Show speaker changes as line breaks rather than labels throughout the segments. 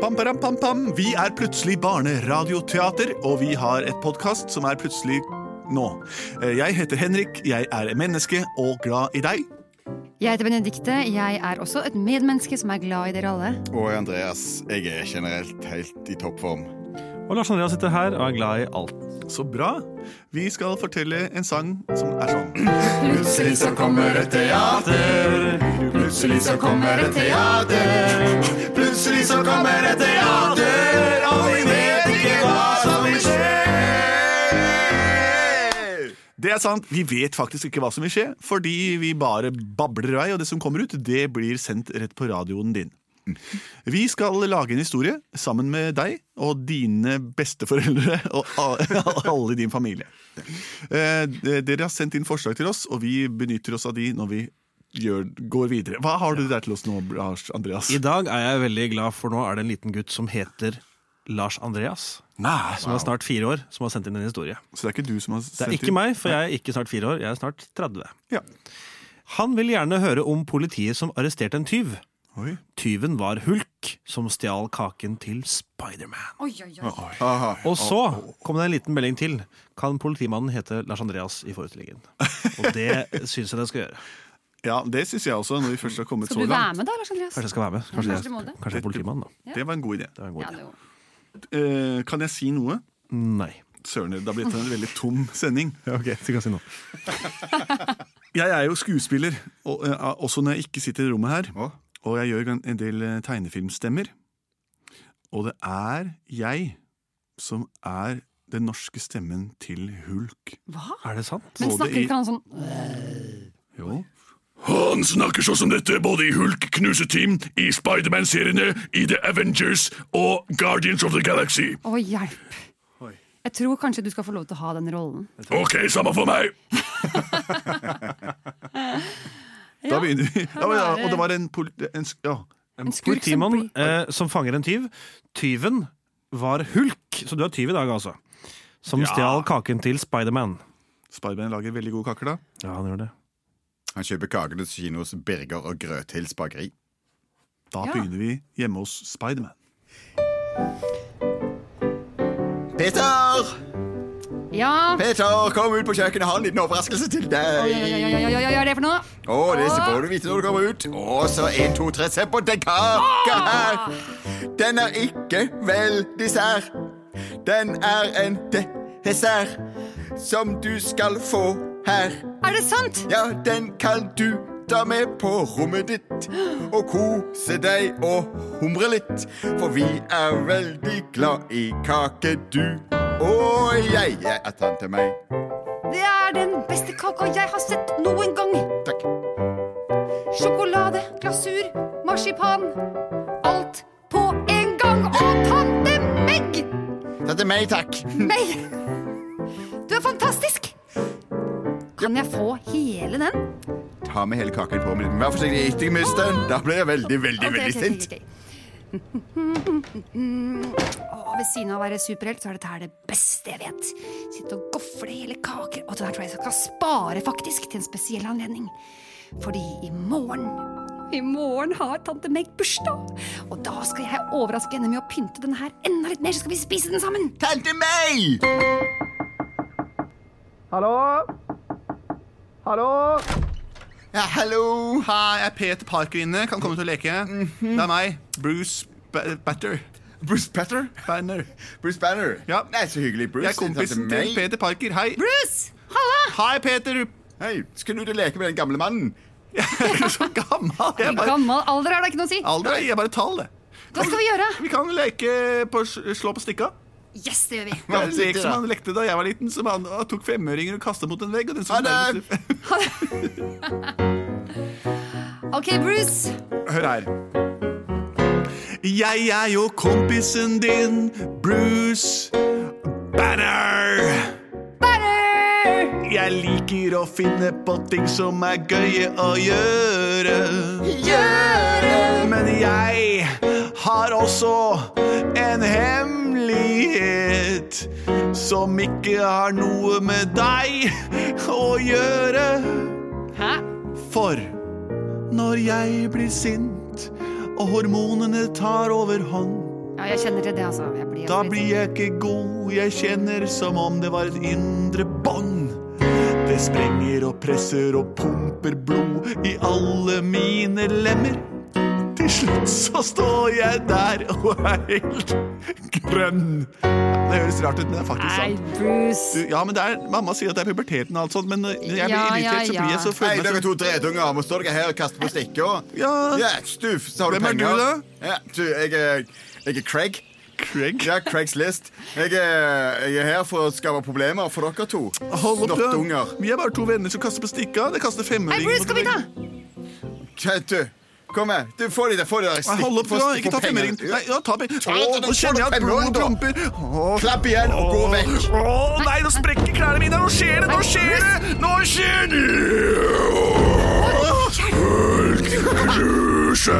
Pam, param, pam, pam. Vi er plutselig barneradioteater, og vi har et podkast som er plutselig nå. Eh, Jeg heter Henrik, jeg er menneske og glad i deg.
Jeg heter Benedikte. Jeg er også et medmenneske som er glad i dere alle.
Og Andreas, jeg er generelt helt i toppform.
Og Lars Andreas sitter her og er glad i alt.
Så bra. Vi skal fortelle en sang som er sånn.
Plutselig så kommer et teater. Plutselig så kommer et teater. Plutselig så kommer et teater, og vi vet ikke hva som vil skje.
Det er sant, Vi vet faktisk ikke hva som vil skje, fordi vi bare babler i vei, og det som kommer ut, det blir sendt rett på radioen din. Vi skal lage en historie sammen med deg og dine besteforeldre og a- alle i din familie. Eh, d- Dere har sendt inn forslag til oss, og vi benytter oss av de når vi gjør, går videre. Hva har du der til oss nå, Lars Andreas?
I dag er jeg veldig glad, for nå er det en liten gutt som heter Lars Andreas.
Nei,
Som er snart fire år, som har sendt inn en historie.
Så det er ikke du som har
Det
sendt
er ikke meg, for jeg er ikke snart fire år, jeg er snart 30.
Ja.
Han vil gjerne høre om politiet som arresterte en tyv.
Oi.
Tyven var Hulk, som stjal kaken til Spiderman.
Oi, oi, oi.
Aha.
Og så kom det en liten melding til. Kan politimannen hete Lars Andreas i forestillingen? Og det syns jeg den skal gjøre.
ja, det syns jeg også, når vi først har kommet
Skal
så
du være
langt.
med, da, Lars Andreas?
Kanskje jeg skal være med? Kanskje,
Ja, kanskje du må
jeg,
det.
kanskje jeg er politimann, da.
Det var en god idé.
Det var
Ja,
en god
det
idé.
er jo.
Eh, Kan jeg si noe?
Nei.
Søren, det har blitt en veldig tom sending.
Ok, så kan jeg si noe.
Jeg er jo skuespiller, og, eh, også når jeg ikke sitter i rommet her.
Å,
Og jeg gjør en- en del eh, tegnefilmstemmer. Og det er jeg som er den norske stemmen til Hulk.
Hva?
Er det sant?
Men
Både
snakker
i-
ikke han sånn
Jo. Han snakker sånn som dette både i Hulk, Knuseteam, i Spiderman-seriene, i The Avengers og Guardians of the Galaxy.
Å, hjelp! Jeg tror kanskje du skal få lov til å ha den rollen.
Ok, samme for meg! Da begynner vi. Ja, men, ja, og det var en, pol en sk- ja.
En skurk som
Politimann eh, som fanger en tyv. Tyven var Hulk, så du er tyv i dag, altså. Som stjal kaken til Spiderman.
Spiderman lager veldig gode kaker, da.
Ja, han gjør det.
Han kjøper kakene til kinos Birger og Grøthils bakeri.
Da
Ja.
begynner vi hjemme hos Spiderman.
Peter!
Ja!
Peter, kom ut på kjøkkenet, har en liten overraskelse til
Oi, oi, oi, oi,
deg.
oi, oi, oi, hva er det for noe?
Å, det så får du vite når du kommer ut. Å, så en, to, tre, se på den kaka her. Den er ikke vel dessert. Den er en de- dessert som du skal få her.
Er det sant?
Ja, den kan du ta med på rommet ditt og kose deg og humre litt. For vi er veldig glad i kake, du og jeg. Jeg er tante meg.
Det er den beste kaka jeg har sett noen gang.
Takk.
Sjokolade, glasur, marsipan. Alt på en gang. Og tante Meg!
Tante meg, takk.
Meg! Du er fantastisk! Kan jeg få hele den?
Ta med hele kaken på meg. Vær forsiktig, ikke mist den. Da blir jeg veldig, veldig,
Ok,
veldig
ok,
sint.
ok, ok. Å, ved siden av å være superhelt, så er dette her det beste jeg vet. Sitte og gofle i hele kaker. Og det her tror jeg jeg skal spare faktisk til en spesiell anledning. Fordi i morgen i morgen har tante Meg bursdag, og da skal jeg overraske henne med å pynte den her enda litt mer, så skal vi spise den sammen.
Tante meg!
Hallo? Hallo?
Ja, hallo.
Hei, jeg er Peter Parker inne. Kan komme ut og leke. Det er meg, Bruce ba Batter.
Bruce Banner?
Banner.
Bruce Banner.
Ja.
Nei, så hyggelig, Bruce.
Jeg er kompisen
Tante
til
May.
Peter Parker. Hei.
Bruce! Halla!
Hei, Peter.
Hei, skal du ut og leke med den gamle mannen?
Jeg er så gammel. Jeg er bare,
Gammel alder er da ikke noe å si.
alder er jeg er bare tall, det.
Hva skal vi gjøre?
Vi kan leke på s- slå på stikka.
Yes, det gjør vi.
Det er en lek
Hva betyr
som
det?
han lekte da jeg var liten, som han han tok femøringer og kastet mot en vegg. Og den som
Ha det.
nærmest-
Ok, Bruce.
Hør her. Jeg er jo kompisen din, Bruce Banner.
Butter!
Jeg liker å finne på ting som er gøye å gjøre. Men jeg har også en hemmelighet som ikke har noe med deg å gjøre.
Hæ?
For når jeg blir sint og hormonene tar overhånd,
jeg kjenner til det, altså. Jeg blir
Da
litt-
blir jeg ikke god, jeg kjenner som om det var et indre bånd. Det sprenger og presser og pumper blod i alle mine lemmer. Til slutt så står jeg der og er helt grønn. Det høres rart ut, men det er faktisk
Nei,
sant.
Bruce.
Du, Ja, men det er, Mamma sier at det er puberteten og alt sånt, men når jeg blir
Ja, ja,
irritert, så blir jeg
ja.
så
Hei,
føler jeg
dere
meg så
to dredunger, må stå dere her og kaste på stikker.
Ja.
ja stuff, så har du
Hvem er
penger.
du da?
Ja, du, jeg er, jeg er Craig.
Craig.
Ja, Craigs List. Jeg er, jeg er her for å skape problemer for dere to.
Hold opp, da.
Snottunger.
Vi er bare to venner som kaster på stikka. Det kaster
Hei,
femmerring.
Bruce, kom hit, da!
Hva, Du, kom her. Du, få de der, få de der.
Nei,
stikk-
Hold opp,
få-
du da.
få
Ikke ta
penger.
femmeringen. Nei, ja, ta pe-
nei,
Å,
nei,
Nå kjenner jeg
får
at
du
blodet
femmeren,
promper. Å,
Klapp igjen og gå vekk.
Å nei, nå sprekker klærne mine! Nå skjer det! Nå skjer det! Nå skjer det!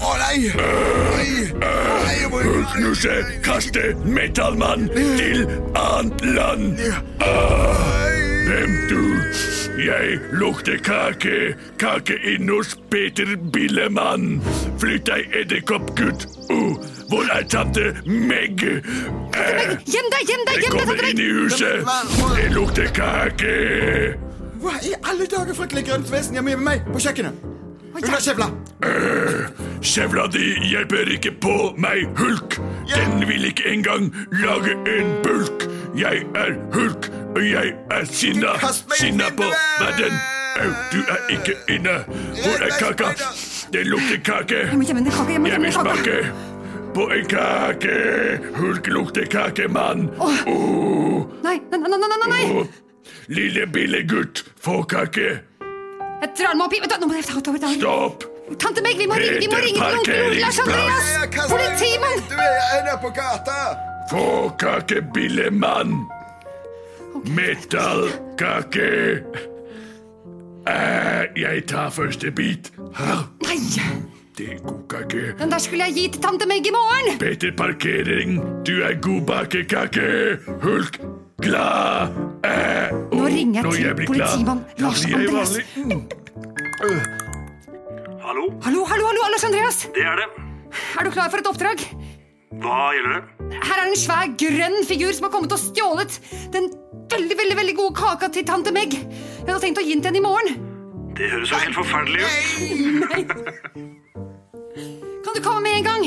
Å nei! Nei! Nei, jeg må
Knuse, kaste metallmann til annet land. Ah. Hvem du? Jeg lukter kake. Kake inne hos Peter Billemann. Flytt deg, edderkoppgutt. Uh, hvor er tante Meg? Eh,
Gjem deg, gjem
jeg
deg! gjem deg,
kommer
Tante
inn
Meg!
i huset. Det lukter kake.
Hva i alle dager fryktelig grønt vesen hjemme med meg på kjøkkenet? Hun har kjevla.
Kjevla di hjelper ikke på meg, Hulk. Den vil ikke engang lage en bulk. Jeg er Hulk, og jeg er sinna.
Kast meg i
Sinna på
vinduet!
verden. Au, du er ikke inne. Hvor er kaka? Det lukter kake.
Jeg må gjemme ned kaka, gjemme
Jeg vil
gjemme ned kaka.
smake på en kake. Hulk lukter kake, mann. Oh,
Nei, nei, nei, nei, nei, nei!
oh. Lille billegutt, få kake.
Jeg drar meg opp i Vent da, Nå må jeg ta ta- ta- ta-
Stopp.
Tante Meg, vi må ringe vi må ringe til onkel Lars Andreas!
Ja, kast meg-
Politimann!
Du er ennå på gata!
Få kakebillemann. Metallkake. Eh, jeg tar første bit. Her,
Nei!
det er god kake.
Den der skulle jeg gi til tante Meg i morgen!
Peter Parkering, du er god bakekake. Hulk, glad. Eh,
Nå
oh,
ringer jeg
når
til
blir glad,
politimann
da
Lars
blir jeg
Andreas.
vanlig.
Hallo,
Hallo, hallo, hallo, Lars Andreas!
det er det.
Er du klar for et oppdrag?
Hva gjelder det?
Her er en svær grønn figur som har kommet og stjålet den veldig veldig, veldig gode kaka til tante Meg. Jeg hadde tenkt å gi den til henne i morgen.
Det høres jo helt forferdelig ut.
Kan du komme med en gang?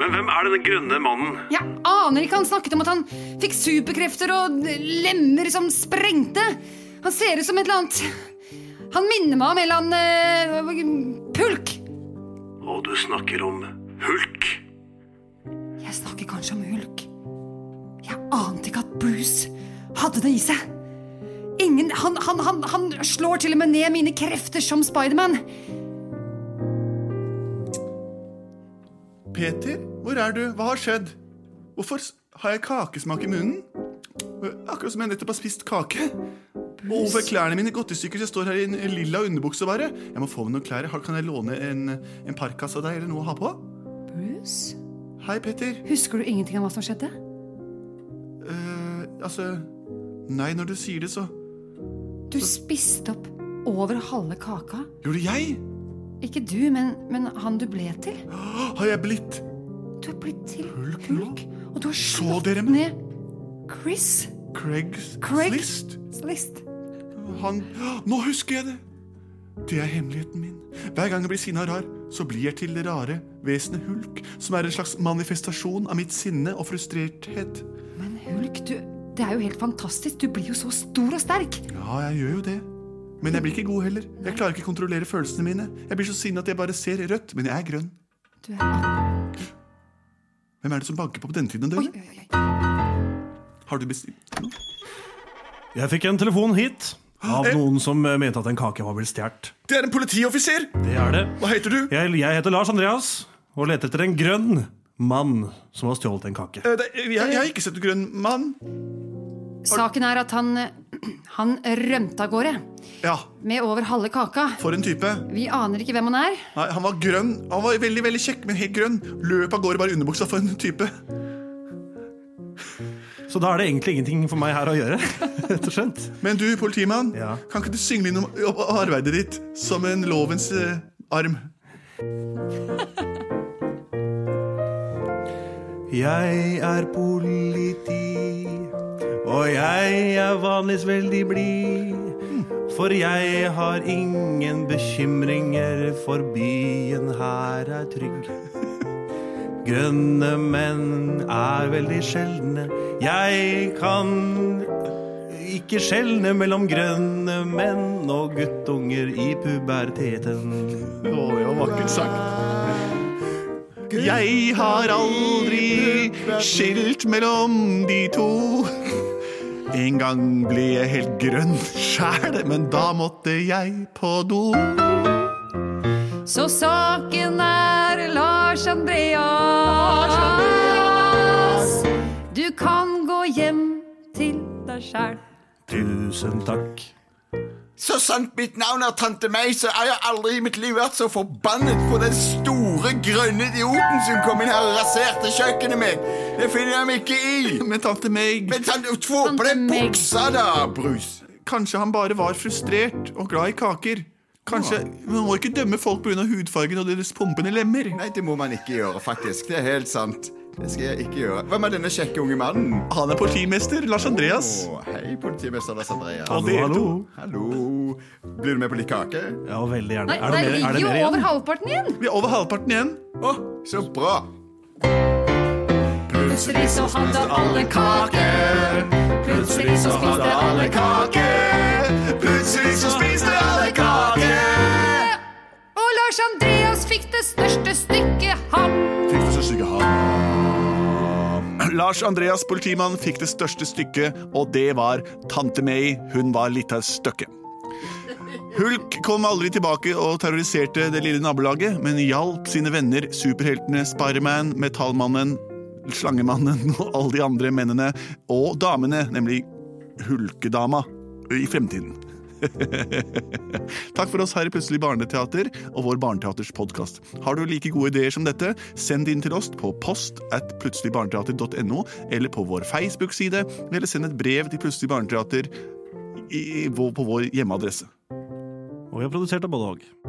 Men hvem er denne grønne mannen?
Jeg aner ikke. Han snakket om at han fikk superkrefter og lemmer som sprengte. Han ser ut som et eller annet Han minner meg om en eller annen eh, pulk.
Og du snakker om hulk.
Jeg snakker kanskje om hulk. Jeg ante ikke at Bruce hadde det i seg. Ingen, han, han, han, han slår til og med ned mine krefter som Spiderman.
Peter, hvor er du? Hva har skjedd? Hvorfor s- har jeg kakesmak i munnen? Øh, Akkurat som jeg nettopp har spist kake. Og over klærne mine gått i stykker, så jeg står her i en lilla underbukse bare. Jeg må få meg noen klær. Har- Kan jeg låne en, en parkas av deg, eller noe å ha på?
Bruce?
Hei, Peter.
Husker du ingenting om hva som skjedde?
Eh, altså Nei, når du sier det, så
Du spiste opp over halve kaka.
Gjorde jeg?
Ikke du, men, men han du ble til.
Har jeg blitt
Du er blitt til
Hulk nå?
hulk. Og du har slått
dere meg?
ned Chris
Craigs
Craig?
list?
List.
Han Nå husker jeg det! Det er hemmeligheten min. Hver gang jeg blir sinna og rar, så blir jeg til det rare vesenet Hulk, som er en slags manifestasjon av mitt sinne og frustrerthet.
Men hulk, du Det er jo helt fantastisk. Du blir jo så stor og sterk.
Ja, jeg gjør jo det. Men jeg blir ikke god heller. Jeg klarer ikke å kontrollere følelsene mine. Jeg blir så sinna at jeg bare ser rødt, men jeg er grønn.
Du er
Hvem er det som banker på på denne tiden av
Oi,
døgnet?
oi, oi, oi.
Har du bestilt noe?
Jeg fikk en telefon hit av noen som eh, mente at en kake var blitt stjålet.
Det er en politioffiser!
Det er det.
Hva heter du?
Jeg, jeg heter Lars Andreas og leter etter en grønn mann som har stjålet en kake.
Eh, det, jeg, jeg har ikke sett en grønn mann.
Saken er at han eh, Han rømte av gårde
Ja,
med over halve kaka.
for en type.
Vi aner ikke hvem han er.
Nei, Han var grønn. Han var veldig veldig kjekk, men helt grønn. Løp av gårde bare i underbuksa for en type.
Så da er det egentlig ingenting for meg her å gjøre. rett og slett.
Men du, politimann,
Ja.
kan ikke du synge inn om om arbeidet ditt som en lovens eh, arm?
Jeg er politi, og jeg er vanligvis veldig blid. For jeg har ingen bekymringer, for byen her er trygg. Grønne menn er veldig sjeldne. Jeg kan ikke skjelne mellom grønne menn og guttunger i puberteten.
Å, det var vakkert sagt. Jeg har aldri skilt mellom de to. En gang ble jeg helt grønn sjæl, men da måtte jeg på do.
Så saken er Lars Andreas. Du kan gå hjem til deg sjæl.
Tusen takk.
Så sant mitt navn er tante meg, så har jeg aldri i mitt liv vært så forbannet på den store, grønne idioten som kom inn her og raserte kjøkkenet mitt. Det finner jeg meg ikke i.
Men tante Meg,
Men tante, få på
Tante
den
Meg.
buksa, da, Brus.
kanskje han bare var frustrert og glad i kaker. Kanskje, Man må ikke dømme folk pga. hudfargen og deres pumpende lemmer.
Nei, det må man ikke gjøre, faktisk. Det er helt sant. Det skal jeg ikke gjøre. Hvem er denne kjekke unge mannen?
Han er politimester Lars Andreas.
Å, hei, politimester Lars Andreas.
Og
Hallo,
dere
hallo.
to.
Hallo. Blir du med på litt kake?
Ja, veldig gjerne.
Nei,
Er det
der
mer, er
ligger
det
jo
mer igjen?
over halvparten igjen.
Vi er over halvparten igjen.
Å, så bra.
Plutselig så hadde alle kake. Plutselig så spiste alle kake.
Plutselig så spiste alle kake.
Og Lars Andreas fikk det største stykket ham.
Lars Andreas politimann fikk det største stykket, og det var tante May. Hun var litt av et stykke. Hulk kom aldri tilbake og terroriserte det lille nabolaget, men hjalp sine venner, superheltene Spiderman, Metallmannen, Slangemannen og alle de andre mennene og damene, nemlig Hulkedama, i fremtiden. Takk for oss her i Plutselig barneteater og vår Barneteaters podkast. Har du like gode ideer som dette, send det inn til oss på post at plutseligbarneteater.no, eller på vår Facebook-side, eller send et brev til Plutselig barneteater i, i, på vår hjemmeadresse.
Og vi har produsert av både og.